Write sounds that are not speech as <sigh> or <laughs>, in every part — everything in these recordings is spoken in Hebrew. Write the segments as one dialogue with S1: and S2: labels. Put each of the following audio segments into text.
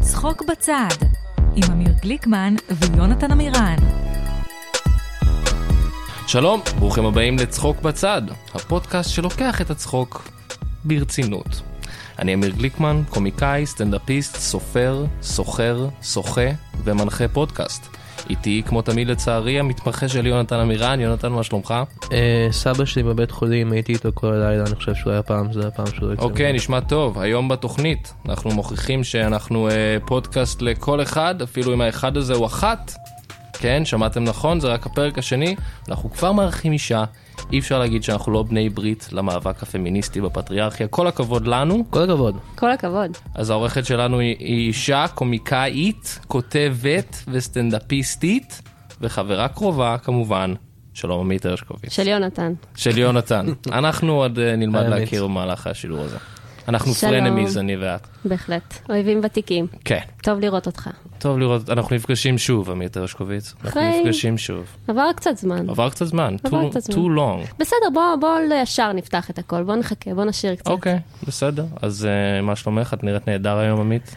S1: צחוק בצד, עם אמיר גליקמן ויונתן עמירן.
S2: שלום, ברוכים הבאים לצחוק בצד, הפודקאסט שלוקח את הצחוק ברצינות. אני אמיר גליקמן, קומיקאי, סטנדאפיסט, סופר, סוחר, שוחה ומנחה פודקאסט. איתי, כמו תמיד לצערי, המתמחה שלי יונתן עמירן, יונתן, מה שלומך?
S3: אה, סבא שלי בבית חולים, הייתי איתו כל הלילה, אני חושב שהוא היה פעם, זה היה פעם שהוא היה
S2: אוקיי, נשמע טוב. היום בתוכנית אנחנו מוכיחים שאנחנו אה, פודקאסט לכל אחד, אפילו אם האחד הזה הוא אחת. כן, שמעתם נכון, זה רק הפרק השני. אנחנו כבר מארחים אישה, אי אפשר להגיד שאנחנו לא בני ברית למאבק הפמיניסטי בפטריארכיה. כל הכבוד לנו.
S3: כל הכבוד.
S4: כל הכבוד.
S2: אז העורכת שלנו היא, היא אישה, קומיקאית, כותבת וסטנדאפיסטית, וחברה קרובה כמובן. שלום עמית הרשקוביץ.
S4: של יונתן.
S2: של יונתן. אנחנו עוד אה, נלמד
S3: האמת.
S2: להכיר במהלך השידור הזה. אנחנו
S4: שלום.
S2: פרנמיז, אני ואת.
S4: בהחלט. אויבים ותיקים.
S2: כן.
S4: טוב לראות אותך.
S2: טוב לראות, אנחנו נפגשים שוב, עמית הרשקוביץ. אנחנו
S4: אחרי-
S2: נפגשים שוב.
S4: עבר קצת זמן.
S2: עבר קצת זמן.
S4: עבר
S2: too-
S4: קצת זמן.
S2: too long.
S4: בסדר, בוא, בוא ישר נפתח את הכל. בוא נחכה, בוא נשאיר קצת.
S2: אוקיי, בסדר. אז אה, מה שלומך? את נראית נהדר היום, עמית.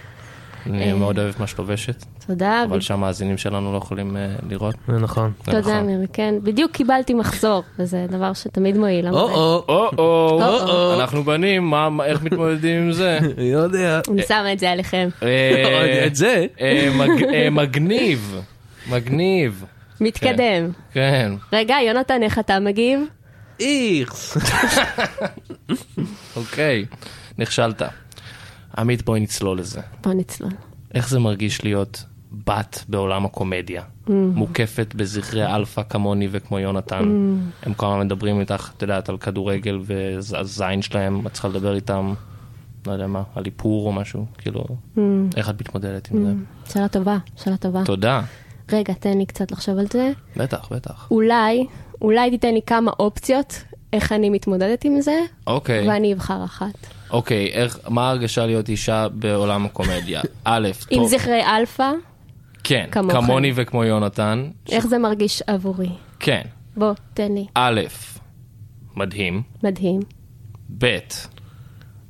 S2: אני
S4: אה.
S2: מאוד אוהב מה שאת לובשת,
S4: תודה.
S2: אוקיי. אבל שהמאזינים שלנו לא יכולים אה, לראות.
S3: זה נכון.
S2: זה נכון.
S4: תודה, אמיר. כן, בדיוק קיבלתי מחזור, וזה דבר שתמיד מועיל. אבל-
S3: או-או,
S2: או-או,
S3: או-או.
S2: אנחנו בנים, מה- מה- איך מתמודדים עם זה?
S3: אני לא יודע. לא
S4: אני שמה את זה עליכם.
S2: אה,
S3: את זה?
S2: אה, מג- אה, מגניב, מגניב,
S4: מתקדם.
S2: כן.
S4: רגע, יונתן, איך אתה מגיב?
S3: איכס.
S2: אוקיי, נכשלת. עמית, בואי נצלול לזה.
S4: בוא נצלול.
S2: איך זה מרגיש להיות בת בעולם הקומדיה?
S4: Mm.
S2: מוקפת בזכרי אלפא כמוני וכמו יונתן.
S4: Mm.
S2: הם כל הזמן מדברים איתך, את יודעת, על כדורגל והזין שלהם, את צריכה לדבר איתם, לא יודע מה, על איפור או משהו, כאילו,
S4: Mm.
S2: איך את מתמודדת עם זה?
S4: שאלה טובה, שאלה טובה.
S2: תודה.
S4: רגע, תן לי קצת לחשוב על זה.
S2: בטח, בטח.
S4: אולי, אולי תיתן לי כמה אופציות, איך אני מתמודדת עם זה,
S2: אוקיי,
S4: ואני אבחר אחת.
S2: אוקיי, איך, מה ההרגשה להיות אישה בעולם
S4: <laughs>
S2: הקומדיה? א',
S4: עם
S2: טוב,
S4: זכרי אלפא,
S2: כן,
S4: כמוכם.
S2: כמוני וכמו יונתן,
S4: איך זה מרגיש עבורי?
S2: כן,
S4: בוא, תן לי.
S2: א', מדהים,
S4: מדהים.
S2: ב',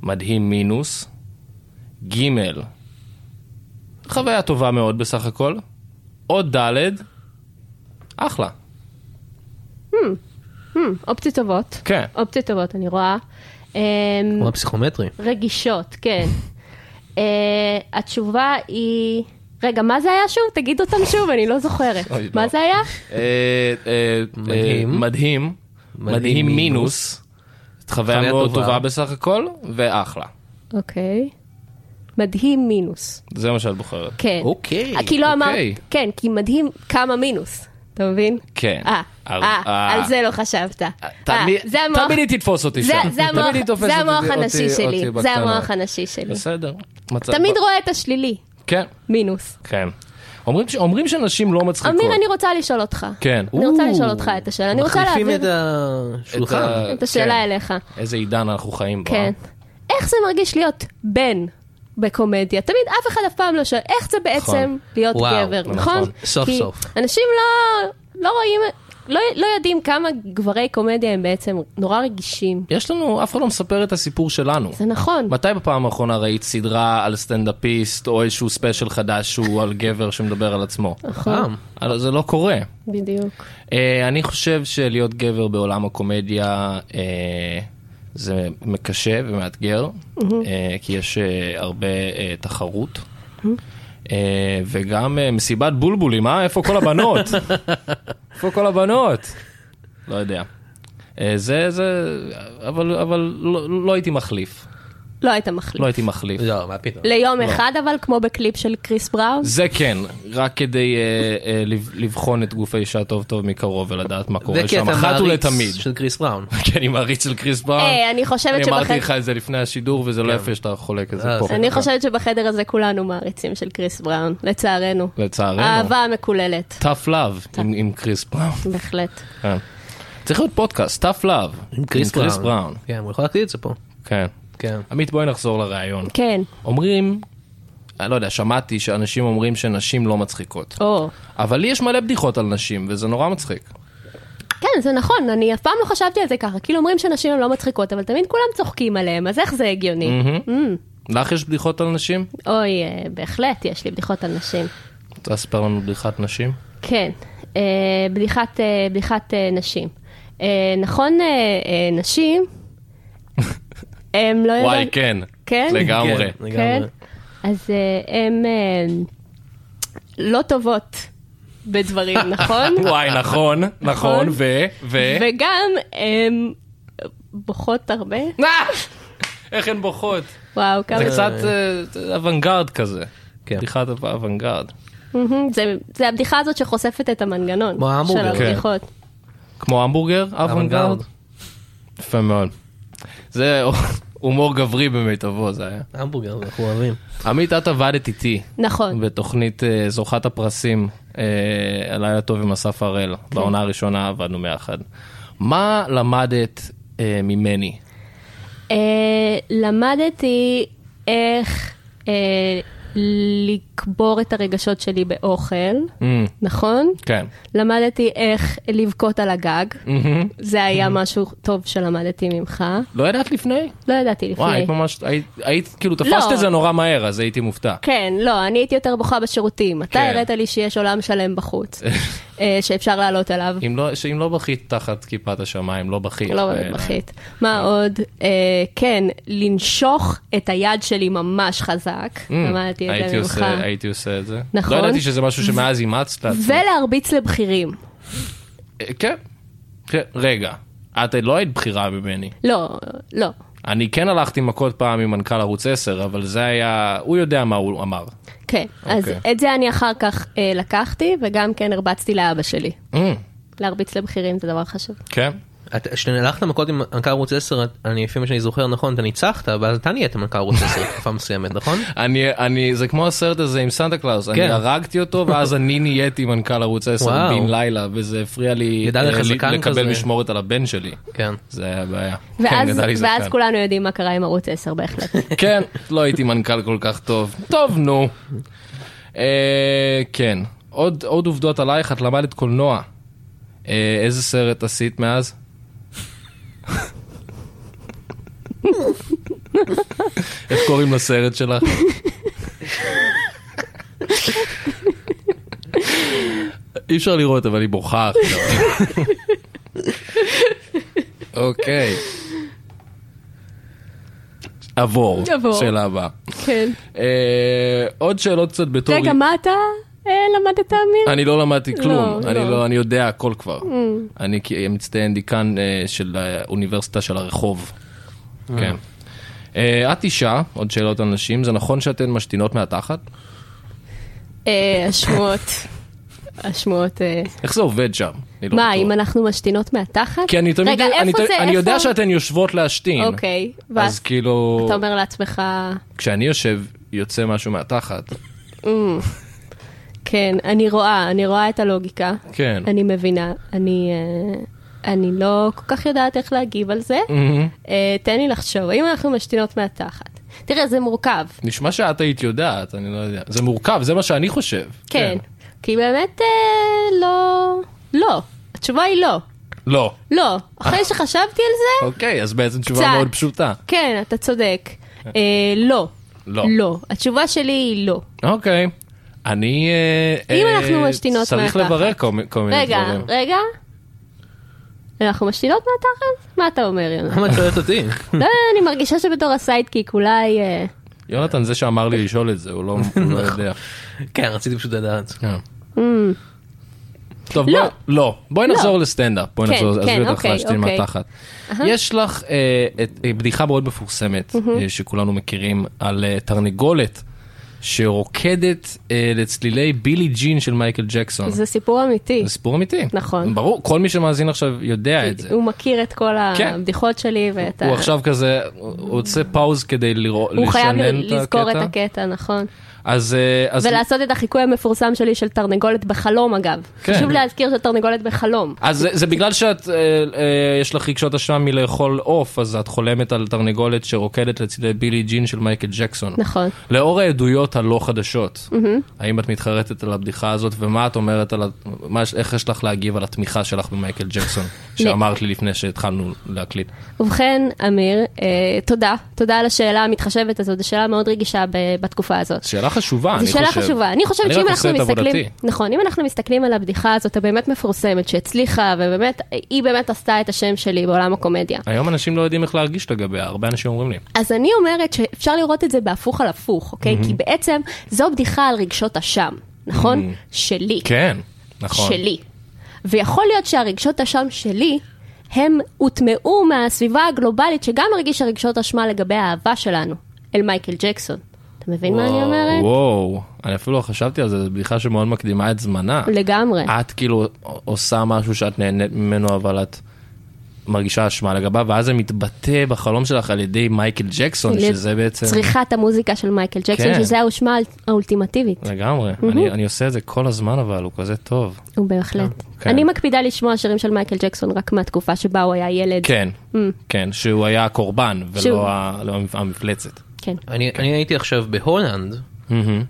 S2: מדהים מינוס, ג', חוויה טובה מאוד בסך הכל, או ד', אחלה,
S4: Hmm, אופציות טובות.
S2: כן.
S4: אופציות טובות, אני רואה. אמ,
S3: כמו הפסיכומטרי.
S4: רגישות, כן. אה, התשובה היא... רגע, מה זה היה שוב? תגיד אותם שוב, אני לא זוכרת.
S2: אוי, לא.
S4: מה זה היה?
S2: אה, אה,
S3: מדהים.
S2: אה, מדהים, מדהים מינוס, חוויה
S3: חוויה
S2: מאוד
S3: טובה.
S2: טובה בסך הכל, ואחלה.
S4: אוקיי. מדהים מינוס.
S2: זה מה שאת בוחרת.
S4: כן.
S3: אוקיי,
S4: כי לא אמרת...
S2: אוקיי.
S4: כן, כי מדהים כמה מינוס. אתה מבין?
S2: כן.
S4: אה,
S2: אר-
S4: אה,
S2: אה.
S4: על זה לא חשבת. אה,
S2: תמיד
S4: זה המוח-
S2: תמיד היא תתפוס אותי
S4: זה-
S2: שם.
S4: זה המוח-
S2: תמיד היא תופסת
S4: זה המוח
S2: אותי-
S4: הנשי
S2: אותי-
S4: שלי.
S2: אותי
S4: זה
S2: בקטנה.
S4: המוח הנשי שלי.
S2: בסדר. מצב-
S4: תמיד רואה את השלילי,
S2: כן,
S4: מינוס.
S2: כן. אומרים ש- אומרים שנשים לא מצחיקות.
S4: אמיר, אני רוצה לשאול אותך.
S2: כן.
S4: אני רוצה
S3: או.
S4: לשאול אותך את השאלה. אני רוצה
S3: מחליפים את
S4: להעביר
S2: את ה-
S3: השולחן.
S4: את השאלה
S2: כן.
S4: אליך.
S2: איזה עידן אנחנו חיים בו. אה?
S4: כן. איך זה מרגיש להיות בן בקומדיה? תמיד אף אחד אף פעם לא שואל, איך זה בעצם
S2: נכון.
S4: להיות
S3: וואו,
S4: גבר,
S2: נכון.
S4: נכון?
S3: סוף
S4: כי
S3: סוף.
S4: אנשים לא- לא רואים, לא- לא יודעים כמה גברי קומדיה הם בעצם נורא רגישים.
S2: יש לנו, אף אחד לא מספר את הסיפור שלנו.
S4: זה נכון.
S2: מתי בפעם האחרונה ראית סדרה על סטנדאפיסט או איזשהו ספיישל חדש שהוא על גבר שמדבר על
S4: <laughs>
S2: עצמו?
S3: פעם.
S2: אבל זה לא קורה.
S4: בדיוק.
S2: אה, אני חושב שלהיות גבר בעולם הקומדיה אה, זה קשה ומאתגר, אה, כי יש אה, הרבה אה, תחרות. אה, וגם אה, מסיבת בולבולים, אה? איפה כל הבנות? איפה כל הבנות? לא יודע. אה, זה, זה, אבל, אבל לא, לא הייתי מחליף.
S4: לא היית מחליף.
S2: לא הייתי מחליף.
S3: לא, מה פתאום.
S4: ליום אחד אבל, כמו בקליפ של קריס בראון?
S2: זה כן, רק כדי אה, אה, לב- לבחון את גוף האישה טוב טוב מקרוב ולדעת מה קורה
S3: כי
S2: שם,
S3: אתה
S2: אחת
S3: מעריץ
S2: ולתמיד.
S3: של קריס בראון.
S2: כי אני מעריץ של קריס בראון.
S4: היי, אה, אני חושבת
S2: אני אמרתי לך
S4: שבחדר...
S2: את זה לפני השידור, וזה לא יפה שאתה חולק את זה
S3: אה,
S2: פה.
S3: זה-
S4: אני חושבת שבחדר הזה כולנו מעריצים של קריס בראון, לצערנו.
S2: לצערנו.
S4: אהבה מקוללת,
S2: tough love עם- עם קריס בראון.
S4: בהחלט.
S2: כן. צריך להיות פודקאסט, tough love. עם בראון.
S3: כן, הוא יכול להקליט את זה פה.
S2: כן.
S3: כן.
S2: עמית, בואי נחזור לראיון.
S4: כן,
S2: אומרים, אני לא יודע, שמעתי שאנשים אומרים שנשים לא מצחיקות.
S4: או.
S2: אבל לי יש מלא בדיחות על נשים, וזה נורא מצחיק.
S4: כן, זה נכון, אני אף פעם לא חשבתי על זה ככה. כאילו אומרים שנשים הן לא מצחיקות, אבל תמיד כולם צוחקים עליהן, אז איך זה הגיוני? Mm,
S2: לך יש בדיחות על נשים?
S4: אוי, אה, בהחלט, יש לי בדיחות על נשים.
S2: רוצה לספר לנו בדיחת נשים?
S4: כן, אה, בדיחת, אה, בדיחת אה, נשים. אה, נכון, אה, אה,
S2: <laughs>
S4: נשים, הם לא
S2: וואי, כן.
S4: כן?
S2: לגמרי.
S3: כן.
S4: כן?
S3: לגמרי.
S4: אז הן לא טובות
S2: <laughs>
S4: בדברים, נכון?
S2: וואי, נכון, נכון, ו... ו...
S4: וגם הן בוכות הרבה.
S2: אה! איך הן בוכות?
S4: וואו, כמה...
S2: זה קצת אה, אוונגרד כזה.
S3: כן.
S2: בדיחת אוונגרד.
S4: מהמם, זה- זה הבדיחה הזאת שחושפת את המנגנון
S3: כמו
S4: של
S3: ההמבורגר.
S2: כן.
S4: הבדיחות.
S2: כמו המבורגר, אוונגרד. יפה מאוד. זה הומור גברי במיטבו זה היה.
S3: המבורגר, אנחנו אוהבים.
S2: עמית, את עבדת איתי
S4: נכון,
S2: בתוכנית אה, זוכת הפרסים, אה, הלילה טוב עם אסף הראל. בעונה הראשונה עבדנו ביחד. מה למדת אה, ממני?
S4: אה, למדתי איך אה, לקבור את הרגשות שלי באוכל,
S2: אמ,
S4: נכון?
S2: כן.
S4: למדתי איך לבכות על הגג,
S2: מהמם.
S4: זה היה משהו טוב שלמדתי ממך.
S2: לא ידעת לפני?
S4: לא ידעתי לפני.
S2: וואי, היית ממש, היית- היית, כאילו, תפסת
S4: לא.
S2: את זה נורא מהר, אז הייתי מופתע.
S4: כן, לא, אני הייתי יותר בוכה בשירותים. אתה
S2: כן.
S4: הראת לי שיש עולם
S2: <laughs>
S4: שלם בחוץ, אה, שאפשר לעלות עליו.
S2: אם לא, שאם לא בכית תחת כיפת השמיים, לא בכית.
S4: לא
S2: אה,
S4: באמת מחית. מה עוד? אה, כן, לנשוך את היד שלי ממש חזק.
S2: אמ,
S4: למדתי את
S2: הייתי
S4: זה ממך.
S2: עושה- הייתי עושה את זה.
S4: נכון.
S2: לא ידעתי שזה משהו שמאז אימצת לעצמך.
S4: ולהרביץ לבכירים.
S2: אה, כן. כן, רגע, את לא היית בכירה ממני.
S4: לא, לא.
S2: אני כן הלכתי מכות פעם עם מנכ"ל ערוץ 10, אבל זה היה, הוא יודע מה הוא אמר.
S4: כן, אז
S2: אוקיי.
S4: את זה אני אחר כך אה, לקחתי, וגם כן הרבצתי לאבא שלי.
S2: Mm,
S4: להרביץ לבכירים זה דבר חשוב.
S2: כן?
S3: את- כשהלכת מכות עם מנכ"ל ערוץ 10, את- אני לפי מה שאני זוכר נכון, אתה ניצחת, ואז אתה נהיית מנכ"ל ערוץ 10 בתקופה מסוימת, נכון?
S2: אני, אני, זה כמו הסרט הזה עם סנטה קלאוס, אני
S3: כן.
S2: הרגתי אותו,
S3: <laughs>
S2: ואז אני נהייתי מנכ"ל ערוץ 10
S3: וואו.
S2: בן לילה, וזה הפריע לי
S3: גדל
S2: אה,
S3: לך
S2: לי-
S3: זקן
S2: לקבל
S3: כזה.
S2: משמורת על הבן שלי.
S3: כן.
S2: זה היה בעיה. כן,
S4: ואז
S2: גדל לי
S4: ואז
S2: זקן.
S4: כולנו יודעים מה קרה עם ערוץ 10
S2: <laughs>
S4: בהחלט.
S2: כן, לא הייתי מנכ"ל כל כך טוב. טוב, נו. אה, כן. עוד עוד עובדות עלייך, את למדת קולנוע. אה, איזה סרט עשית מאז? איך קוראים לסרט שלך? אי אפשר לראות, אבל היא בוכה עכשיו. אוקיי. עבור.
S4: עבור.
S2: שאלה הבאה.
S4: כן.
S2: אה, עוד שאלות קצת בתור...
S4: רגע, מה אתה אה, למדת, אמיר?
S2: אני לא למדתי כלום,
S4: לא, Mm.
S2: אני
S4: לא.
S2: לא, אני יודע הכל כבר. אני כ- מצטיין דיקן אה, של האוניברסיטה של הרחוב. כן. אה, את אישה, עוד שאלות על נשים, זה נכון שאתן משתינות מהתחת?
S4: אה, השמועות. השמועות. אה,
S2: איך זה עובד שם? אני לא
S4: מה,
S2: בטוח.
S4: אם אנחנו משתינות מהתחת?
S2: כי אני תמיד,
S4: רגע,
S2: אני
S4: איפה
S2: ת-
S4: זה?
S2: אני יודע
S4: איפה?
S2: שאתן יושבות להשתין.
S4: אוקיי,
S2: אז
S4: ואז
S2: כאילו,
S4: אתה אומר לעצמך,
S2: כשאני יושב, יוצא משהו מהתחת.
S4: "אמ, כן, אני רואה, אני רואה את הלוגיקה,
S2: כן.
S4: אני מבינה, אני... אה, אני לא כל כך יודעת איך להגיב על זה.
S2: מהמם.
S4: אה, תן לי לחשוב, האם אנחנו משתינות מהתחת? תראה, זה מורכב,
S2: נשמע שאת היית יודעת, אני לא יודע. זה מורכב, זה מה שאני חושב.
S4: כן. כי באמת, אה, לא... לא. התשובה היא לא.
S2: לא.
S4: לא. אחרי שחשבתי על זה,
S2: אוקיי, אז בעצם
S4: קצת.
S2: תשובה מאוד פשוטה.
S4: כן, אתה צודק. אה, לא.
S2: כן. לא.
S4: לא. התשובה שלי היא לא.
S2: אוקיי. אני... אה,
S4: אם
S2: אה,
S4: אנחנו משתינות
S2: צריך
S4: מהתחת.
S2: לברר כל מי- כל מיני
S4: רגע,
S2: דברים.
S4: רגע. אנחנו משתינות מהתחת? מה אתה אומר,
S2: <laughs>
S4: יונה?
S3: למה את שואלת אותי?
S4: לא, אני מרגישה שבתור הסיידקיק אולי... אה,
S2: יונתן זה שאמר לי לשאול את זה, הוא לא הוא לא יודע.
S3: כן, רציתי פשוט לדעת.
S2: כן. טוב,
S4: לא.
S2: בואי- לא. בואי
S4: לא.
S2: נחזור לסטנדאפ. בואי
S4: כן,
S2: נחזור,
S4: כן,
S2: עזבי אותך
S4: אוקיי,
S2: להשתין
S4: אוקיי.
S2: מהתחת. יש לך אה, את- אה, בדיחה מאוד מפורסמת, אה, שכולנו מכירים, על אה, תרנגולת שרוקדת אה, לצלילי בילי ג'ין של מייקל ג'קסון.
S4: זה סיפור אמיתי.
S2: אה. זה סיפור אמיתי.
S4: נכון.
S2: ברור, כל מי שמאזין עכשיו יודע את זה.
S4: הוא מכיר את כל
S2: כן.
S4: הבדיחות שלי ואת ה...
S2: הוא עכשיו כזה, הוא עושה פאוז כדי לראות,
S4: הוא חייב
S2: לשנן את
S4: לזכור את
S2: הקטע.
S4: הקטע, נכון.
S2: אז אה, אז-
S4: ולעשות את החיקוי המפורסם שלי של תרנגולת בחלום, אגב.
S2: כן.
S4: חשוב להזכיר שתרנגולת בחלום.
S2: אז זה- זה בגלל שאת, אה, אה, יש לך רגשות אשם מלאכול עוף, אז את חולמת על תרנגולת שרוקדת לצידי בילי ג'ין של מייקל ג'קסון.
S4: נכון.
S2: לאור העדויות הבדיחות הלא חדשות. האם את מתחרטת על הבדיחה הזאת, ומה את אומרת על, ה- מה, איך יש לך להגיב על התמיכה שלך במייקל
S4: <laughs>
S2: ג'קסון, שאמרת לי לפני שהתחלנו להקליט.
S4: ובכן, אמיר, אה, תודה. תודה על השאלה המתחשבת הזאת, זו שאלה מאוד רגישה ב- בתקופה הזאת.
S2: שאלה חשובה, אני
S4: זו
S2: חושב.
S4: שאלה חשובה. אני חושבת שאם
S2: רק עושה
S4: אנחנו
S2: את
S4: מסתכלים...
S2: עבודתי.
S4: נכון, אם אנחנו מסתכלים על הבדיחה הזאת הבאמת מפורסמת שהצליחה, ובאמת, היא באמת עשתה את השם שלי בעולם הקומדיה.
S2: היום אנשים לא יודעים איך להרגיש לגביה, הרבה אנשים אומרים לי.
S4: אז אני אומרת שאפשר לראות את זה בהפוך על הפוך, אוקיי? כי בעצם זו בדיחה על רגשות אשם, נכון? שלי.
S2: כן, נכון.
S4: שלי. ויכול להיות שהרגשות אשם שלי, הם הוטמעו מהסביבה הגלובלית שגם הרגישה רגשות אשמה לגבי האהבה שלנו, אל מייקל ג'קסון. אתה מבין מה אני אומרת?
S2: וואו, אני אפילו לא חשבתי על זה, זו בדיחה שמאוד מקדימה את זמנה.
S4: לגמרי.
S2: את כאילו עושה משהו שאת נהנית ממנו, אבל את מרגישה אשמה לגביו, ואז זה מתבטא בחלום שלך על ידי מייקל ג'קסון, שזה בעצם...
S4: צריכת המוזיקה של מייקל ג'קסון,
S2: כן.
S4: שזה האושמה האול- האולטימטיבית.
S2: לגמרי. אני- אני עושה את זה כל הזמן, אבל הוא כזה טוב.
S4: הוא בהחלט.
S2: כן.
S4: אני מקפידה לשמוע שירים של מייקל ג'קסון רק מהתקופה שבה הוא היה ילד.
S2: כן, כן, שהוא היה הקורבן,
S4: שהוא-
S2: ולא ה- לא המפלצת.
S4: כן.
S3: אני אני הייתי עכשיו בהולנד,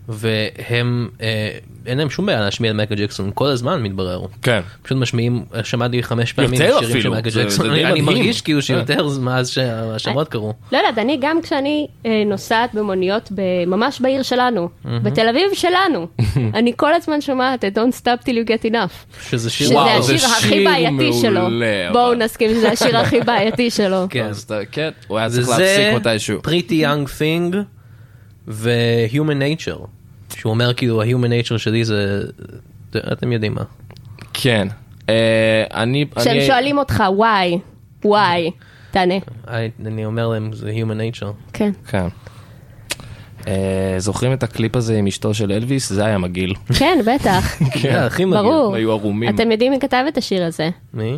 S3: והם, אה, אין להם שום בעיה להשמיע את מייקל ג'קסון, כל הזמן מתברר.
S2: כן.
S3: פשוט משמיעים, שמעתי חמש פעמים
S2: יותר
S3: שירים של
S2: אפילו,
S3: מייקל
S2: זה-
S3: ג'קסון,
S2: זה די
S3: אני אני
S2: מדהים. אה.
S3: מרגיש כאילו שיותר זה מאז שהשמות קרו.
S4: לא יודעת, אני גם כשאני אה, נוסעת במוניות ב- ממש בעיר שלנו, בתל אביב
S2: <laughs>
S4: שלנו, אני כל הזמן שומעת את Don't Stop Till You Get Enough,
S3: שזה שיר,
S4: שזה
S2: וואו, זה
S4: השיר הכי
S2: שיר
S4: בעייתי שלו.
S2: מעולה, אבל.
S4: בואו נסכים שזה השיר הכי
S2: <laughs>
S4: בעייתי שלו.
S3: כן.
S2: אז אתה- כן, הוא היה
S3: זה
S2: צריך להפסיק מתישהו.
S3: Pretty Young Thing ו-Human Nature. שהוא אומר כאילו ה-Human Nature שלי זה, זה- אתם יודעים מה.
S2: כן. אה, אני...
S4: כשהם
S2: אני-
S4: שואלים אותך, וואי, וואי, תענה.
S3: I- אני אומר להם זה Human Nature.
S4: כן.
S2: כן. אה, זוכרים את הקליפ הזה עם אשתו של אלוויס? זה היה מגעיל. <laughs>
S4: כן, בטח,
S3: זה הכי מגעיל.
S4: ברור.
S2: היו ערומים.
S4: אתם יודעים מי כתב את השיר הזה?
S3: מי?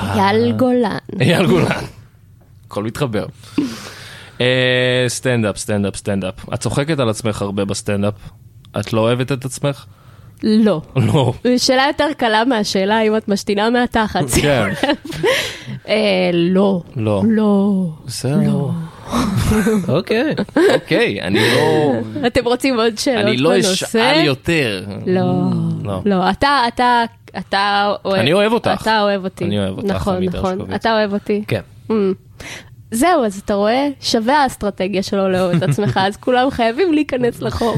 S2: אה.
S4: אייל גולן.
S2: אייל גולן. הכל מתחבר. אה, סטנדאפ, סטנדאפ, סטנדאפ. את צוחקת על עצמך הרבה בסטנדאפ. את לא אוהבת את עצמך? <laughs>
S4: לא.
S2: לא.
S4: שאלה יותר קלה מהשאלה אם את משתינה מהתחת.
S2: <laughs> כן.
S4: <laughs> אה, <laughs> לא.
S2: לא.
S4: לא.
S2: בסדר.
S3: אוקיי.
S2: אוקיי, אני לא...
S4: <laughs> אתם רוצים עוד שאלות בנושא?
S2: אני לא אשאל יותר.
S4: לא.
S2: לא.
S4: לא, אתה, אתה, אתה אוהב...
S2: אני אוהב אותך.
S4: אתה אוהב אותי.
S2: אני אוהב אותך,
S4: נכון,
S2: עמית
S4: נכון.
S2: הרשקוביץ.
S4: אתה אוהב אותי.
S3: כן.
S4: אמ, זהו, אז אתה רואה, שווה האסטרטגיה שלא לאהוב את עצמך, אז כולם חייבים להיכנס
S2: <laughs>
S4: לחור.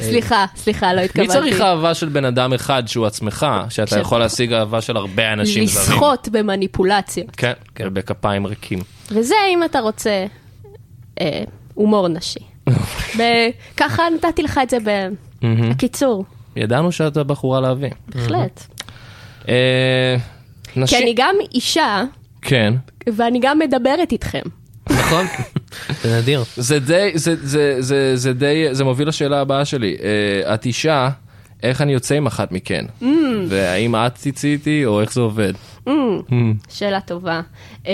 S4: סליחה, סליחה, לא
S2: מי
S4: התכוונתי.
S2: צריך אהבה של בן אדם אחד שהוא עצמך, שאתה
S4: כשאתה-
S2: יכול להשיג אהבה של הרבה אנשים זרים?
S4: כן. לסחוט במניפולציות.
S2: כן, כן, בכפיים ריקים.
S4: וזה אם אתה רוצה אה, הומור נשי.
S2: אוקיי.
S4: ב- ככה נתתי לך את זה בקיצור,
S2: ידענו שאתה בחורה להביא.
S4: בהחלט.
S2: אה,
S4: כי אני
S2: נשים...
S4: גם אישה,
S2: כן.
S4: ואני גם מדברת איתכם.
S3: נכון? זה נדיר.
S2: זה די, זה, זה, זה, זה די, זה מוביל לשאלה הבאה שלי. אה, את אישה, איך אני יוצא עם אחת מכן? והאם את תצאי איתי, או איך זה עובד?
S4: שאלה טובה. אה,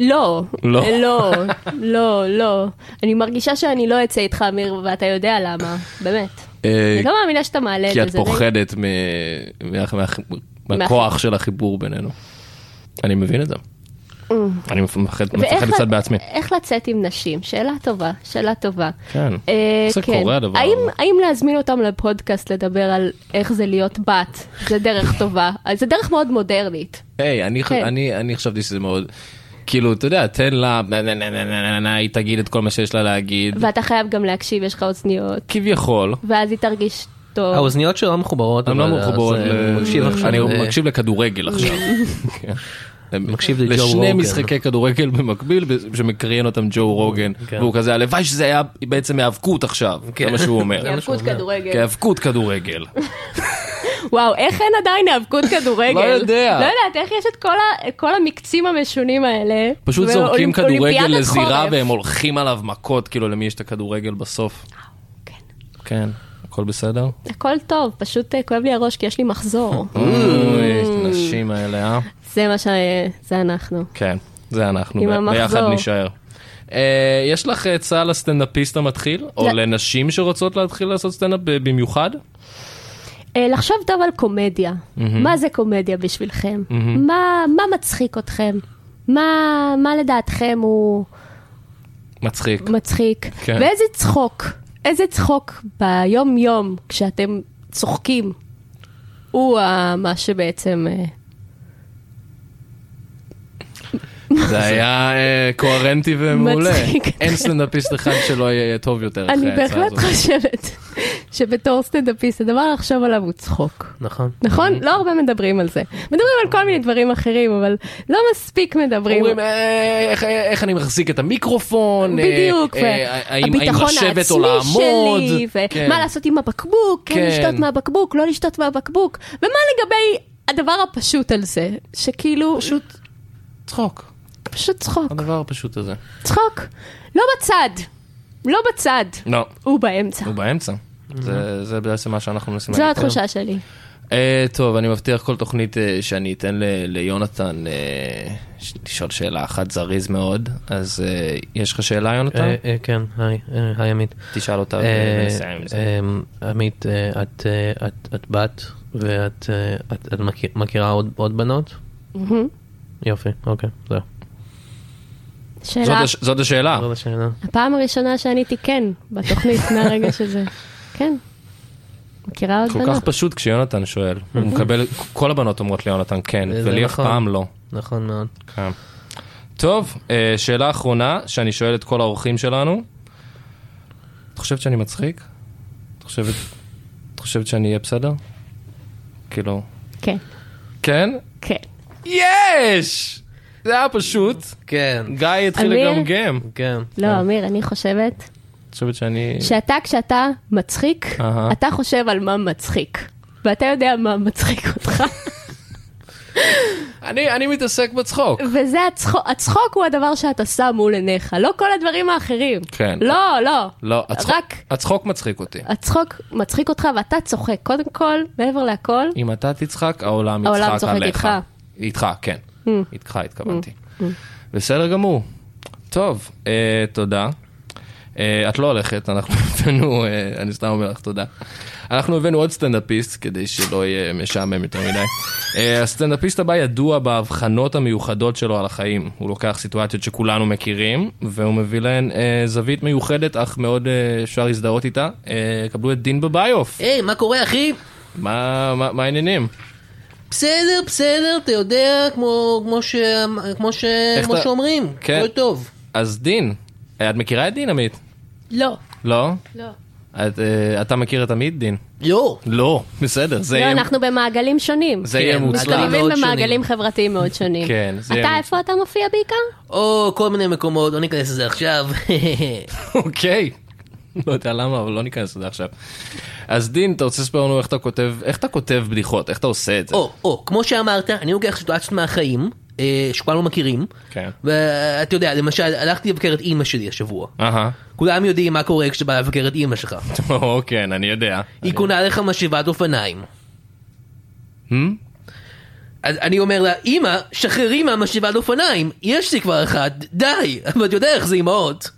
S4: לא,
S2: לא.
S4: אה, לא, לא, לא. אני מרגישה שאני לא אצא איתך, אמיר, ואתה יודע למה, באמת.
S2: אה,
S4: אני לא מאמינה שאתה מעלה את זה.
S2: כי את
S4: זה די-
S2: פוחדת מ... מה- מה- מהכוח של החיבור בינינו. אני מבין את זה. אני מפחד
S4: ואיך
S2: מפחד
S4: ל-
S2: קצת בעצמי.
S4: איך לצאת עם נשים? שאלה טובה, שאלה טובה.
S2: כן.
S4: אה,
S2: זה
S4: כן.
S2: קורה, הדבר
S4: האם,
S2: הזה.
S4: האם להזמין אותם לפודקאסט לדבר על איך זה להיות בת, זה דרך טובה, אז זה דרך מאוד מודרנית.
S2: היי, אני, ח-
S4: כן.
S2: אני, אני חשבתי שזה מאוד... כאילו, אתה יודע, תן לה, נה, נה, נה, נה, נה, נה, נה, היא תגיד את כל מה שיש לה להגיד.
S4: ואתה חייב גם להקשיב, יש לך אוזניות,
S2: כביכול.
S4: ואז היא תרגיש
S2: אה,
S4: טוב.
S3: האוזניות שלו לא מחוברות.
S2: אני
S3: אבל
S2: לא
S3: אז
S2: מחובר,
S3: אני מקשיב עכשיו.
S2: אני
S3: ל-
S2: מקשיב לכדורגל עכשיו. <laughs> כן.
S3: מקשיב לג'ו
S2: לשני
S3: רוגן.
S2: משחקי כדורגל במקביל ב- שמקריין אותם ג'ו רוגן,
S3: כן.
S2: והוא כזה, הלוואי שזה היה בעצם היאבקות עכשיו, זה
S3: כן.
S2: מה שהוא אומר.
S4: <laughs> היאבקות כדורגל.
S2: כהאבקות כדורגל.
S4: וואו, איך אין עדיין היאבקות כדורגל?
S2: לא יודע.
S4: לא יודעת, איך יש את כל ה- כל המקצים המשונים האלה?
S2: פשוט זורקים
S4: ואולימ-
S2: כדורגל
S4: אולימפיאדת
S2: לזירה
S4: חורף.
S2: והם הולכים עליו מכות, כאילו למי יש את הכדורגל בסוף.
S4: כן.
S2: כן, הכל בסדר?
S4: הכל טוב, פשוט אה, כואב לי הראש כי יש לי
S2: <laughs>
S4: מחזור.
S2: אוי, נשים האלה, אה?
S4: זה מה ש... זה אנחנו.
S2: כן, זה אנחנו,
S4: עם
S2: ב-
S4: המחזור.
S2: ביחד נישאר. אה, יש לך עצה לסטנדאפיסט המתחיל, או
S4: לא.
S2: לנשים שרוצות להתחיל לעשות סטנדאפ ב- במיוחד?
S4: אה, לחשוב טוב על קומדיה. מה זה קומדיה בשבילכם? מה מה מצחיק אתכם? מה מה לדעתכם הוא... <laughs>
S2: מצחיק.
S4: מצחיק.
S2: כן.
S4: ואיזה צחוק, איזה צחוק ביום-יום כשאתם צוחקים, הוא ה- מה שבעצם... אה,
S2: זה היה אה, קוהרנטי ומעולה.
S4: מצחיק.
S2: אין סטנדאפיסט אחד שלא יהיה טוב יותר אחרי
S4: אני
S2: ההצעה
S4: בהחלט
S2: הזאת.
S4: חושבת שבתור סטנדאפיסט הדבר לחשוב עליו הוא צחוק.
S3: נכון.
S4: נכון?
S2: אוקיי.
S4: לא הרבה מדברים על זה. מדברים על כל מיני דברים אחרים, אבל לא מספיק מדברים.
S2: אומרים "אה, איך- אה, איך אני מחזיק את המיקרופון, אה,
S4: בדיוק,
S2: אה, האם- האם
S4: והביטחון
S2: לשבת או
S4: העצמי
S2: לעמוד,
S4: שלי,
S2: כן.
S4: ומה לעשות עם הבקבוק, כן
S2: כן.
S4: לשתות מהבקבוק, לא לשתות מהבקבוק, ומה לגבי הדבר הפשוט על זה, שכאילו,
S2: פשוט צחוק,
S4: פשוט צחוק,
S2: הדבר הפשוט הזה.
S4: צחוק, לא בצד, לא בצד,
S2: לא,
S4: הוא באמצע.
S2: הוא באמצע. זה- זה בעצם מה שאנחנו מנסים
S4: זו
S2: להגיד. היום.
S4: התחושה שלי.
S2: אה, טוב, אני מבטיח כל תוכנית אה, שאני אתן ל- ליונתן אה, ש- לשאול שאלה אחת זריז מאוד, אז אה, יש לך שאלה, יונתן?
S3: אה, אה, כן, היי, אה, היי עמית.
S2: תשאל אותה
S3: אה,
S2: ונסיים עם זה.
S3: אה, עמית, אה, את, אה, את- את בת ואת אה, את- את מכיר- מכירה עוד עוד בנות?
S4: מהמם.
S3: יופי, אוקיי, זהו.
S2: זאת
S3: אה,
S4: שאלה,
S2: הש- זאת השאלה.
S3: זאת השאלה.
S4: הפעם הראשונה שעניתי כן
S2: <laughs>
S4: בתוכנית מהרגע שזה, כן. מכירה עוד
S2: כל כך
S4: בנות?
S2: פשוט כשיונתן שואל. הוא מקבל, כל הבנות אומרות ליונתן כן,
S3: זה
S2: ולי אף
S3: נכון.
S2: פעם לא.
S3: נכון מאוד.
S2: כן. טוב, אה, שאלה אחרונה שאני שואל את כל האורחים שלנו. את חושבת שאני מצחיק? את חושבת- את חושבת שאני אהיה בסדר? כאילו...
S4: כן,
S2: כן?
S4: כן.
S2: יש! זה היה פשוט.
S3: כן,
S2: גיא התחיל
S4: אמיר?
S2: לגמגם.
S3: כן.
S2: אה.
S4: לא, אמיר, אני חושבת
S2: את חושבת שאני...
S4: שאתה, כשאתה מצחיק,
S2: אהה.
S4: אתה חושב על מה מצחיק. ואתה יודע מה מצחיק אותך.
S2: <laughs> אני אני מתעסק בצחוק.
S4: וזה הצחוק, הצחוק הוא הדבר שאתה שם מול עיניך, לא כל הדברים האחרים.
S2: כן.
S4: לא, לא.
S2: לא, הצחוק-
S4: רק
S2: הצחוק מצחיק אותי.
S4: הצחוק מצחיק אותך ואתה צוחק. קודם כל, מעבר להכל,
S2: אם אתה תצחק, העולם יצחק עליך.
S4: העולם צוחק איתך. Mm.
S2: איתך, כן. איתך התכוונתי. בסדר גמור. טוב, אה, תודה. אה, את לא הולכת, אנחנו <laughs> הבאנו, אה, אני סתם אומר לך תודה. אנחנו הבאנו עוד סטנדאפיסט, כדי שלא יהיה משעמם יותר מדי. אה, הסטנדאפיסט הבא ידוע בהבחנות המיוחדות שלו על החיים. הוא לוקח סיטואציות שכולנו מכירים, והוא מביא להן אה, זווית מיוחדת, אך מאוד אה, אפשר להזדהות איתה. אה, קבלו את דין בביוף.
S4: אה.
S3: היי, מה קורה אחי?
S2: מה מה- מה העניינים?
S3: בסדר, בסדר, אתה יודע, כמו, כמו, ש, כמו, ש,
S2: איך
S3: כמו
S2: אתה-
S3: שאומרים,
S2: כן.
S3: הכל טוב.
S2: אז דין, אה, את מכירה את דין עמית?
S4: לא.
S2: לא?
S4: לא.
S2: את, אה, אתה מכיר את עמית דין?
S3: לא.
S2: לא. בסדר, זה
S4: לא,
S2: יהיה...
S4: אנחנו במעגלים שונים.
S2: זה יהיה
S3: כן,
S2: מוצלח.
S4: אתה מבין
S3: מאוד שונים.
S4: במעגלים חברתיים מאוד שונים.
S2: כן, זה-
S4: אתה, איפה אתה מופיע בעיקר?
S3: או כל מיני מקומות, לא ניכנס
S2: <laughs>
S3: לזה עכשיו.
S2: <laughs> אוקיי. לא יודע למה, אבל לא ניכנס לזה עכשיו. אז דין, אתה רוצה לספר לנו איך אתה כותב, איך אתה כותב בדיחות? איך אתה עושה את זה?
S3: או, או, כמו שאמרת, אני לוקח סיטואציות מהחיים, אה, שכולנו מכירים.
S2: כן.
S3: ואתה יודע, למשל, הלכתי לבקר את אימא שלי השבוע.
S2: אהה. <laughs>
S3: כולם יודעים מה קורה כשאתה בא לבקר את אימא שלך.
S2: או, כן, אני יודע.
S3: היא קונה לך משאבת אופניים.
S2: Hmm?
S3: אז אני אומר לה, אמא, שחררי מהמשאבת אופניים, יש לי כבר אחת, די, אבל אתה יודע איך זה אמהות.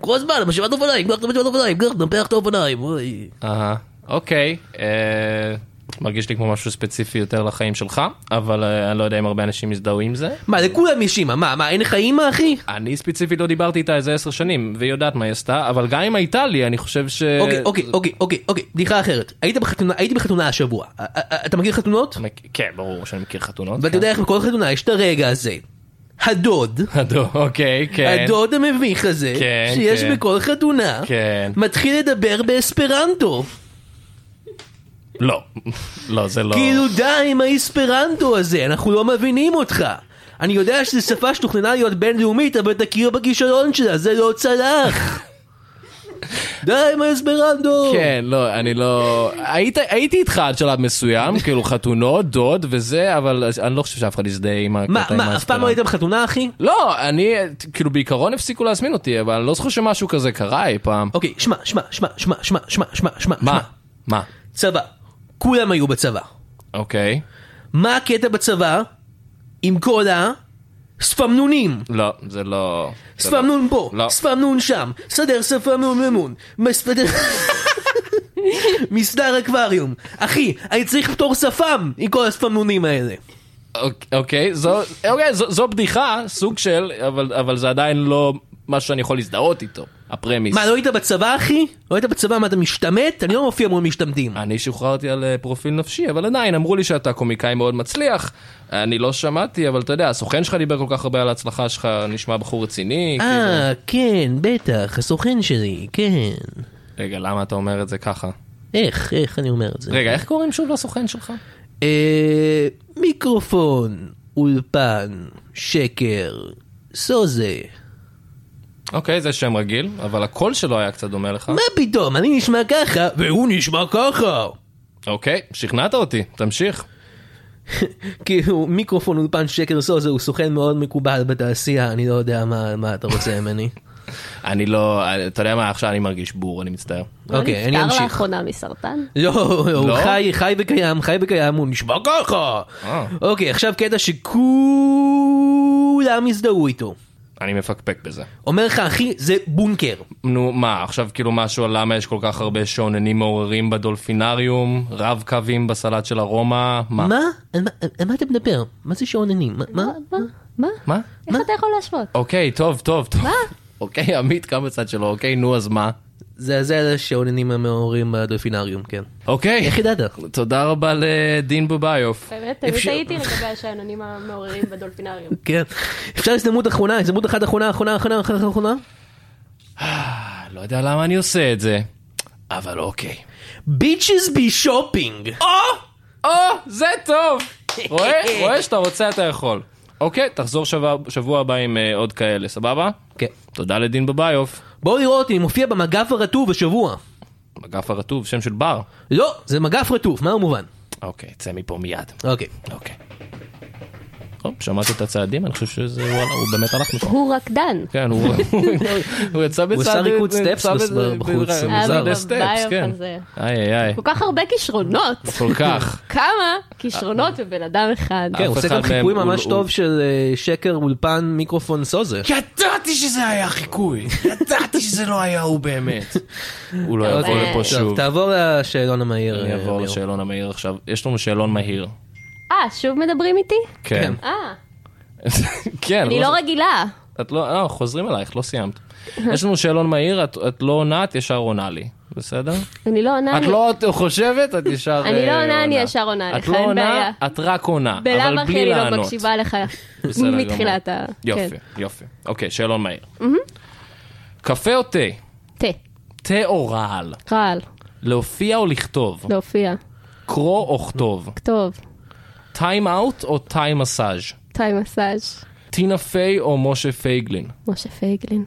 S3: כל הזמן, משאבת אופניים, קח את המשאבת אופניים, קח, נפח את האופניים, אוי.
S2: אהה. אוקיי. אה, מרגיש לי כמו משהו ספציפי יותר לחיים שלך, אבל אה, אני לא יודע אם הרבה אנשים יזדהו עם זה.
S3: מה, לכולם יש אימא, מה, מה, אין לך אימא, אחי?
S2: אני ספציפית לא דיברתי איתה איזה עשר שנים, והיא יודעת מה היא עשתה, אבל גם אם הייתה לי, אני חושב ש...
S3: אוקיי, אוקיי, אוקיי, אוקיי, אוקיי, בדיחה אחרת. היית בחתונה, הייתי בחתונה השבוע. א- א- א- אתה מכיר חתונות?
S2: מק- כן, ברור שאני מכיר חתונות.
S3: ואתה יודע איך בכל חתונה יש את הרגע הזה. הדוד,
S2: כן. הדוד, אוקיי, כן.
S3: הדוד המביך הזה,
S2: כן,
S3: שיש
S2: כן.
S3: בכל חתונה,
S2: כן.
S3: מתחיל לדבר באספרנטו.
S2: לא. לא, זה לא...
S3: כאילו די עם האיספרנטו הזה, אנחנו לא מבינים אותך. אני יודע שזו שפה שתוכננה להיות בינלאומית, אבל תכיר בכישלון שלה, זה לא
S2: <laughs>
S3: צלח. די עם האיספרנטו!
S2: כן, לא, אני לא... היית, הייתי איתך עד שלב מסוים,
S3: <laughs>
S2: כאילו חתונות, דוד וזה, אבל אני לא חושב שאף אחד יזדהה עם הקטע
S3: מה,
S2: עם
S3: מה, אף פעם לא היית
S2: האספרנטו.
S3: בחתונה, אחי?
S2: לא, אני, כאילו בעיקרון הפסיקו להזמין אותי, אבל אני לא זוכר שמשהו כזה קרה אי פעם.
S3: <laughs> אוקיי, שמע, שמע, שמע, שמע, שמע, שמע, שמע, שמע,
S2: מה? מה?
S3: צבא. כולם היו בצבא.
S2: אוקיי.
S3: מה הקטע בצבא? עם כל ה... ספמנונים.
S2: לא, זה לא... זה לא.
S3: ספמנון פה,
S2: לא.
S3: ספמנון שם, סדר ספמנון ממון, מסדר... <laughs> מסדר אקווריום. אחי, אני צריך פטור שפם עם כל הספמנונים האלה.
S2: אוקיי, אוקיי, זו, אוקיי זו, זו בדיחה, סוג של, אבל, אבל זה עדיין לא משהו שאני יכול להזדהות איתו, הפרמיס.
S3: מה, לא היית בצבא, אחי? לא היית בצבא, מה, אתה משתמט? אני לא מופיע מול משתמטים.
S2: אני שוחררתי על אה, פרופיל נפשי, אבל עדיין אמרו לי שאתה קומיקאי מאוד מצליח. אני לא שמעתי, אבל אתה יודע, הסוכן שלך דיבר כל כך הרבה על ההצלחה שלך, נשמע בחור רציני. כאילו.
S3: אה, כן, בטח, הסוכן שלי, כן.
S2: רגע, למה אתה אומר את זה ככה?
S3: איך, איך אני אומר את זה? כן.
S2: רגע, איך קוראים שוב לסוכן שלך?
S3: אה, מיקרופון, אולפן, שקר, סוזה.
S2: אה? אוקיי, זה שם רגיל, אבל הקול שלו היה קצת דומה לך.
S3: מה פתאום, אני נשמע ככה, והוא נשמע ככה.
S2: אוקיי, שכנעת אותי, תמשיך.
S3: כאילו, מיקרופון, אולפן, שקר, סוזה, הוא סוכן מאוד מקובל בתעשייה, אני לא יודע מה, מה אתה רוצה ממני.
S2: אני לא, אתה יודע מה, עכשיו אני מרגיש בור, אני מצטער.
S4: לא
S3: אוקיי, אני
S4: נפטר
S3: אמשיך.
S4: לאחרונה מסרטן?
S3: לא, הוא
S2: לא?
S3: חי, חי וקיים, חי וקיים, הוא נשמע ככה.
S2: אה.
S3: אוקיי, עכשיו קטע שכולם הזדהו איתו.
S2: אני מפקפק בזה.
S3: אומר לך, אחי, זה בונקר.
S2: נו, מה, עכשיו כאילו משהו על למה יש כל כך הרבה שעוננים מעוררים בדולפינריום, רב קווים בסלט של ארומה, מה?
S3: מה? על מה- על מה אתה מדבר? מה זה שעוננים? מה- מה?
S4: מה? מה?
S2: מה?
S4: איך אתה יכול להשוות?
S2: אוקיי, טוב, טוב, טוב. מה? אוקיי, עמית קם בצד שלו, אוקיי, נו, אז מה?
S3: זה זה השעוננים המעוררים בדולפינריום, כן.
S2: אוקיי,
S3: איך ידעת?
S2: תודה רבה לדין בביוף.
S4: באמת, תמיד
S3: אפשר-
S4: הייתי לגבי השאננים המעוררים בדולפינריום.
S3: כן. אפשר הזדמנות אחרונה, הזדמנות אחת אחרונה, אחרונה, אחרונה, אחרונה, אחרונה.
S2: אני לא יודע למה אני עושה את זה, אבל אוקיי.
S3: ביצ'ס בי שופינג.
S2: אה. או, זה טוב! רואה? רואה שאתה רוצה, אתה יכול. אוקיי, תחזור שבוע- שבוע הבא עם אה, עוד כאלה, סבבה?
S3: כן.
S2: תודה לדין בביוף.
S3: בואו לראות, אני מופיע במגף הרטוב השבוע.
S2: אגף הרטוב, שם של בר.
S3: לא, זה מגף רטוב, מה המובן?
S2: אוקיי, צא מפה מיד.
S3: אוקיי.
S2: אוקיי. טוב, שמעתי את הצעדים, אני חושב שזה, וואלה, הוא באמת הלך משם.
S4: הוא רקדן.
S2: כן,
S4: <laughs>
S2: הוא- הוא יצא בצד...
S3: עשה ריקוד סטפס
S2: יצא
S3: בס-
S2: בצד-
S3: בחוץ, זה
S2: אה,
S3: מוזר.
S2: בלי סטפס,
S4: ביוף
S2: כן.
S4: הזה.
S2: איי, איי, איי.
S4: כל כך הרבה כישרונות.
S2: כל כך.
S4: כמה כישרונות
S2: אה,
S4: בבן אדם אחד.
S3: כן,
S2: אף
S3: הוא
S2: אחד
S3: עושה כאן חיקוי
S2: מהם הוא- לא-
S3: ממש
S2: הוא-
S3: טוב של אה, שקר, אולפן, מיקרופון, סוזה.
S2: <laughs> כן. ידעתי שזה היה חיקוי, ידעתי שזה לא היה הוא באמת. הוא לא יבוא
S4: אוקיי.
S2: לפה שוב.
S3: טוב, תעבור לשאלון המהיר.
S2: אני
S3: אה,
S2: אעבור
S3: אמיר.
S2: לשאלון המהיר עכשיו. יש לנו שאלון מהיר.
S4: אה, שוב מדברים איתי?
S2: כן.
S4: אה,
S2: <laughs> כן.
S4: אני לא רגילה.
S2: את לא, לא, חוזרים אלייך, לא סיימת.
S4: <laughs>
S2: יש לנו שאלון מהיר, את- את לא עונה, את ישר עונה לי, בסדר?
S4: אני לא עונה.
S2: את
S4: אני-
S2: לא את חושבת, את ישר...
S4: אני לא
S2: אה,
S4: עונה, אני ישר עונה
S2: את
S4: לך,
S2: לא
S4: אין
S2: עונה,
S4: בעיה.
S2: את רק עונה, אבל
S4: בלאו הכי
S2: בלי
S4: אני
S2: לענות.
S4: לא מקשיבה לך
S2: בסדר גמור.
S4: מתחילת ה...
S2: יופי,
S4: כן.
S2: יופי. אוקיי, שאלון מהיר. קפה או תה?
S4: תה,
S2: תה או רעל?
S4: רעל,
S2: להופיע או לכתוב?
S4: להופיע,
S2: קרוא או כתוב?
S4: כתוב,
S2: טיים אאוט או טיים מסאז'?
S4: טיים מסאז',
S2: טינה פיי או משה פייגלין?
S4: משה פייגלין,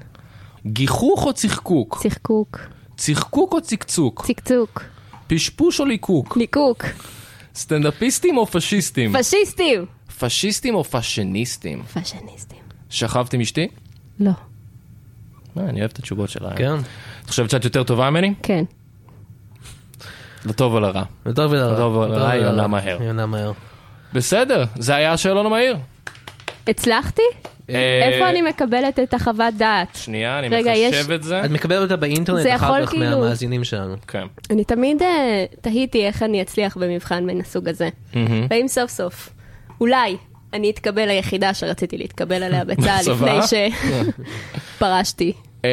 S2: גיחוך או צחקוק?
S4: צחקוק,
S2: צחקוק או צקצוק?
S4: צקצוק,
S2: פשפוש או ליקוק?
S4: ליקוק,
S2: סטנדאפיסטים או פשיסטים?
S4: פשיסטים!
S2: פשיסטים או פאשיניסטים?
S4: פאשיניסטים.
S2: שכבת עם אשתי?
S4: לא.
S2: אה, אני אוהב את התשובות שלה.
S3: כן.
S2: את חושבת שאת יותר טובה ממני?
S4: כן.
S2: לטוב או לרע.
S3: לטוב ולרע.
S2: לטוב ולרע,
S3: לטוב
S2: היא עונה
S3: ולרע.
S2: מהר.
S3: היא עונה מהר.
S2: בסדר, זה היה השאלון המהיר.
S4: הצלחתי?
S2: אה,
S4: איפה אני מקבלת את החוות דעת?
S2: שנייה, אני
S4: רגע,
S2: מחשב את זה.
S3: את מקבלת אותה באינטרנט
S4: זה
S3: אחר
S4: יכול
S3: כך
S4: כאילו-
S3: מהמאזינים שלנו.
S2: כן.
S4: אני תמיד אה, תהיתי איך אני אצליח במבחן מן הסוג הזה. והאם סוף סוף, אולי, אני אתקבל ליחידה שרציתי
S2: <laughs>
S4: להתקבל עליה בצה"ל
S2: בצבא?
S4: לפני
S2: <laughs>
S4: שפרשתי.
S2: אמ,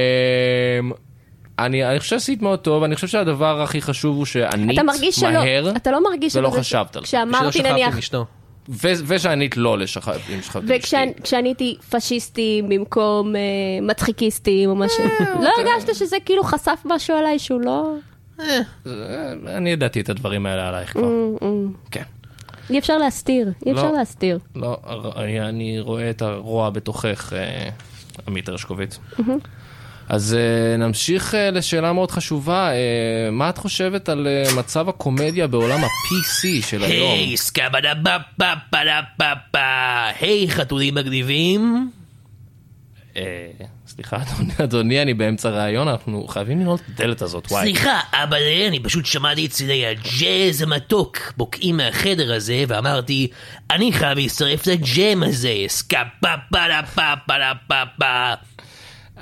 S2: אני אני חושב שעשית מאוד טוב, אני חושב שהדבר הכי חשוב הוא שענית
S4: אתה מרגיש שלא,
S2: מהר,
S4: אתה לא מרגיש
S2: ולא
S4: שבזה-
S2: חשבת על זה. לא
S3: שלא
S4: כשאמרתי
S3: שכבת
S4: נניח,
S3: עם אשתו.
S2: ו- ושענית לא לשכבת עם שכבת עם אשתי.
S4: וכשאני הייתי פשיסטים במקום אה, מצחיקיסטים או משהו, לא הרגשת שזה כאילו חשף משהו עליי שהוא לא...
S2: אה, אני ידעתי את הדברים האלה עלייך כבר.
S4: Mm.
S2: כן.
S4: אי אפשר להסתיר, אי אפשר
S2: לא.
S4: להסתיר.
S2: לא, אני- אני רואה את הרוע בתוכך, אה, עמית הרשקוביץ.
S4: Mm-hmm.
S2: אז אה, נמשיך אה, לשאלה מאוד חשובה, אה, מה את חושבת על אה, מצב הקומדיה בעולם ה-PC של היום?
S3: היי, סקאבדה בפה בפה בפה. היי, חתולים מגניבים.
S2: אה, סליחה, אדוני- אדוני, אני באמצע ראיון, אנחנו חייבים לנעול את הדלת הזאת, וואי.
S3: סליחה, אבל אני פשוט שמעתי את צלילי הג'אז המתוק בוקעים מהחדר הזה, ואמרתי, אני חייב להצטרף לג'ם הזה, סקאפה פה פה פה פה פה.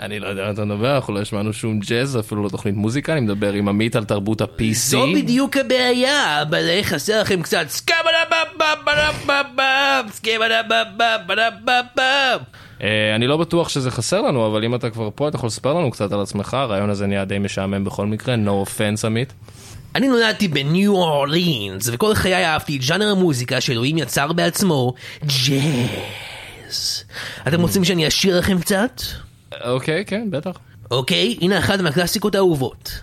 S2: אני לא יודע מה אתה מדבר, אנחנו לא השמענו שום ג'אז, אפילו לא תוכנית מוזיקה, אני מדבר עם עמית על תרבות ה-PC.
S3: זו לא בדיוק הבעיה, אבל איך חסר לכם קצת סקאבלה בב בב בב בב בב סקאבלה בב בב בב בב בב
S2: אה, אני לא בטוח שזה חסר לנו, אבל אם אתה כבר פה, אתה יכול לספר לנו קצת על עצמך, הרעיון הזה נהיה די משעמם בכל מקרה, no offense עמית.
S3: אני נולדתי בניו אורלינס, וכל חיי אהבתי את ז'אנר המוזיקה שאלוהים יצר בעצמו, ג'אז. אתם רוצים שאני אשיר לכם קצת?
S2: אוקיי, כן, בטח.
S3: אוקיי, הנה אחת מהקלאסיקות האהובות.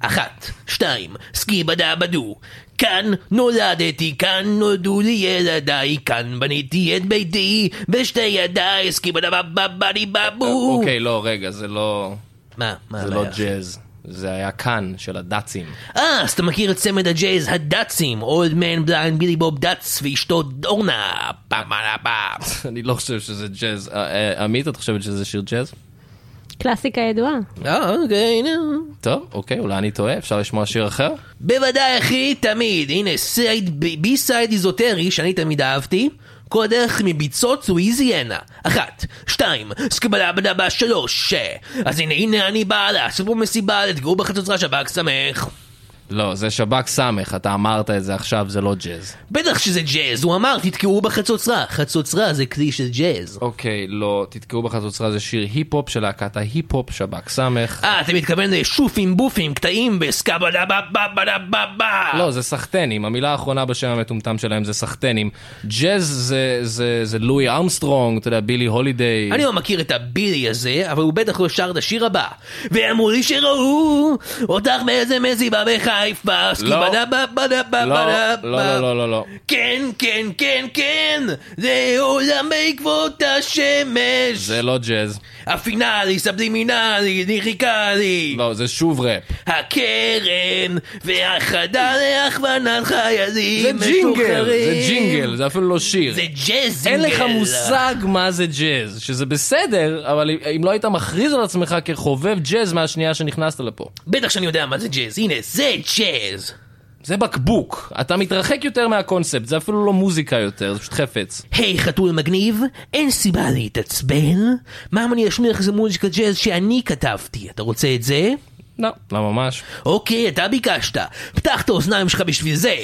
S3: אחת, שתיים, סקי בדה בדו. כאן נולדתי, כאן נולדו לי ילדיי, כאן בניתי את ביתי, בשתי ידיי, סקי בדה בב בב בדי בבו.
S2: אוקיי, לא, רגע, זה לא...
S3: מה, מה
S2: זה לא
S3: הבעיה?
S2: ג'אז, זה היה כאן, של הדאצים.
S3: אה, אז אתה מכיר את צמד הג'אז הדאצים, אולד מן בליינד בילי בוב דאץ ואשתו דורנה, פעם על הפעם.
S2: אני לא חושב שזה ג'אז. אה, אה, עמית, את חושבת שזה שיר ג'אז?
S4: קלאסיקה ידועה.
S3: אה, אוקיי, נו.
S2: טוב, אוקיי, אולי אני טועה, אפשר לשמוע שיר אחר?
S3: בוודאי אחי, תמיד. הנה, סייד, ב- בי סייד איזוטרי שאני תמיד אהבתי. כל הדרך מביצות הוא איזיינה. אחת, שתיים, סקבלה בדבה שלוש. ש. אז הנה, הנה אני בעלה, עשו פה מסיבה, תגעו בחצוצרה שב"כ שמח.
S2: לא, זה שב"כ סמך, אתה אמרת את זה עכשיו, זה לא ג'אז.
S3: בטח שזה ג'אז, הוא אמר, תתקעו בחצוצרה. חצוצרה זה כלי של ג'אז.
S2: אוקיי, לא, תתקעו בחצוצרה, זה שיר היפ-הופ של להקת ההיפ-הופ, שב"כ סמך.
S3: אה, אתה מתכוון לשופים בופים, קטעים בסקבלה בבה בדה בבה.
S2: לא, זה סחטנים, המילה האחרונה בשם המטומטם שלהם זה סחטנים. ג'אז זה, זה, זה לואי ארמסטרונג, אתה יודע, בילי הולידיי.
S3: אני לא מכיר את הבילי הזה, אבל הוא בטח לא שר את השיר הבא. ואמרו לי שראו אותך באיזה מזיבה בחיפה, סקי
S2: לא.
S3: בדה בדה בדה בדה
S2: לא,
S3: בדה.
S2: לא, לא, לא, לא.
S3: כן, כן, כן, כן, זה עולם בעקבות השמש.
S2: זה לא ג'אז.
S3: הפינאלי, סבלימינלי, ניחיקלי.
S2: לא, זה שוב ראפ.
S3: הקרן והחדר להכוונת
S2: זה ג'ינגל,
S3: חיילים
S2: זה
S3: משוחררים.
S2: ג'ינגל, זה אפילו לא שיר.
S3: זה ג'אז
S2: אין לך
S3: זינגל.
S2: מושג מה זה ג'אז, שזה בסדר, אבל אם- אם לא היית מכריז על עצמך כחובב ג'אז מהשנייה שנכנסת לפה.
S3: בטח שאני יודע מה זה ג'אז, הנה, זה ג'אז.
S2: זה בקבוק, אתה מתרחק יותר מהקונספט, זה אפילו לא מוזיקה יותר, זה פשוט חפץ.
S3: היי חתול מגניב, אין סיבה להתעצבן. מה אם אני אשמיע לך איזה מוזיקה ג'אז שאני כתבתי? אתה רוצה את זה?
S2: לא, לא ממש.
S3: אוקיי, אתה ביקשת. פתח את האוזניים שלך בשביל זה.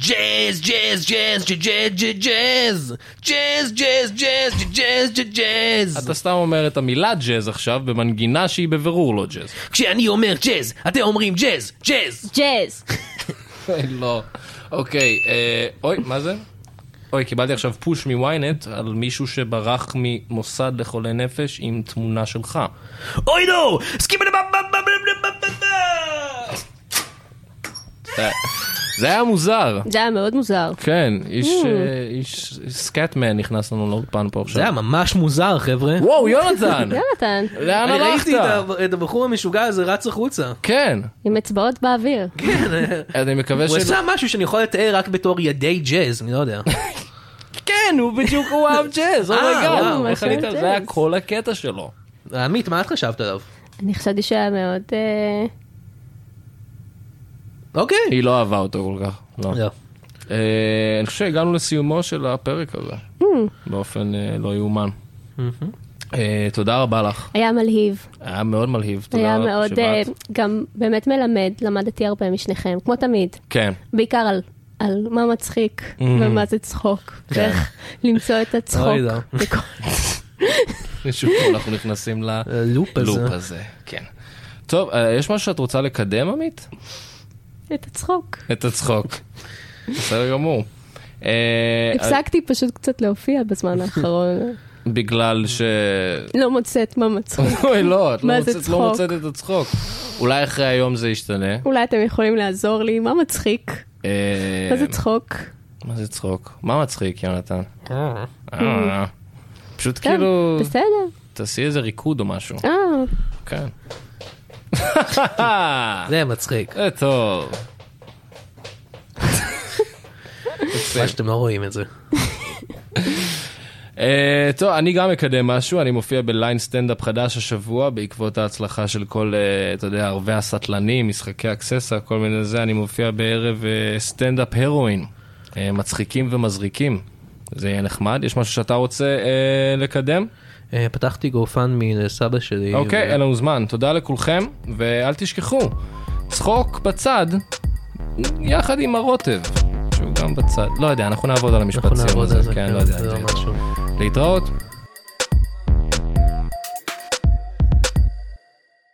S3: ג'אז, ג'אז, ג'אז, ג'אז, ג'אז, ג'אז, ג'אז, ג'אז, ג'אז, ג'אז, ג'אז, ג'אז.
S2: אתה סתם אומר את המילה ג'אז עכשיו במנגינה שהיא בבירור לא ג'אז.
S3: כשאני אומר ג'אז, אתם אומרים ג'אז, ג'אז.
S4: ג'אז.
S2: לא. אוקיי, אה, אוי, מה זה? אוי, קיבלתי עכשיו פוש מוויינט על מישהו שברח ממוסד לחולי נפש עם תמונה שלך.
S3: אוי לא! נו!
S2: <laughs>
S3: סקיבלה בב בב בב בב בב בב בב.
S2: זה- זה היה מוזר.
S4: זה היה מאוד מוזר.
S2: כן, איש, אה, איש סקאטמן נכנס לנו לאולפן פה
S3: זה היה
S2: עכשיו.
S3: ממש מוזר, חבר'ה.
S2: וואו,
S4: <laughs>
S2: יונתן!
S4: יונתן,
S2: לאן
S3: אני ראיתי
S2: הלכת?
S3: את ה- את הבחור המשוגע הזה רץ החוצה.
S2: כן,
S4: עם אצבעות באוויר.
S3: <laughs>
S2: אני מקווה
S3: הוא
S2: ש...
S3: עשה משהו שאני יכול לתאר רק בתור ידי ג'אז, אני לא יודע. <laughs>
S2: כן, הוא בדיוק הוא אהב ג'אז,
S3: אומייגאד.
S4: הוא
S2: אה, איך
S4: אהב
S2: עלית?
S4: ג'אז.
S2: זה היה כל הקטע שלו.
S3: עמית, מה את חשבת עליו?
S4: אני חשבתי שהיה מאוד... אה,
S3: אוקיי.
S2: היא לא אהבה אותו כל כך. לא.
S3: לא.
S2: אה, אני חושב שהגענו לסיומו של הפרק הזה, באופן אה, לא יאומן. אה, תודה רבה לך,
S4: היה מלהיב.
S2: היה מאוד מלהיב. תודה
S4: היה
S2: לך
S4: מאוד... אה,
S2: שבאת.
S4: גם באמת מלמד, למדתי הרבה משניכם, כמו תמיד.
S2: כן,
S4: בעיקר על... על מה מצחיק ומה זה צחוק,
S2: כן.
S4: ואיך למצוא את הצחוק.
S3: אוי, לא.
S4: בכל-
S2: שוב אנחנו נכנסים ל-
S3: הלופ הזה.
S2: לופ הזה. כן. טוב, אה, יש משהו שאת רוצה לקדם, עמית?
S4: את הצחוק.
S2: <laughs> את הצחוק. בסדר גמור. אה,
S4: הפסקתי פשוט קצת להופיע
S2: <laughs>
S4: בזמן האחרון.
S2: בגלל ש...
S4: לא מוצאת מה מצחיק.
S2: אוי, לא, את לא
S4: מה זה
S2: מוצאת- לא
S4: צחוק?
S2: מוצאת את הצחוק. אולי אחרי היום זה ישתנה.
S4: אולי אתם יכולים לעזור לי, מה מצחיק?
S2: אה,
S4: מה זה צחוק?
S2: מה זה צחוק? מה מצחיק, יונתן? אה, פשוט
S4: כן,
S2: כאילו,
S4: בסדר.
S2: תעשי איזה ריקוד או משהו.
S4: אה,
S2: כן. <laughs>
S3: זה מצחיק.
S2: זה אה, טוב.
S3: מה שאתם לא רואים את זה.
S2: אה, טוב, אני גם מקדם משהו, אני מופיע בליין סטנדאפ חדש השבוע, בעקבות ההצלחה של כל, אה, אתה יודע, ערבי הסטלנים, משחקי אקססה, כל מיני זה, אני מופיע בערב אה, סטנדאפ הרואין. אה, מצחיקים ומזריקים. זה יהיה נחמד. יש משהו שאתה רוצה אה, לקדם?
S3: אה, פתחתי גופנמי לסבא שלי.
S2: אוקיי,
S3: ו-
S2: אין לנו זמן. תודה לכולכם, ואל תשכחו, צחוק בצד, יחד עם הרוטב, שהוא גם בצד. לא יודע, אנחנו נעבוד על המשפט
S3: אנחנו
S2: סיום
S3: נעבוד
S2: הזה,
S3: על זה,
S2: כן, לא יודע.
S3: זה לא משהו.
S2: להתראות.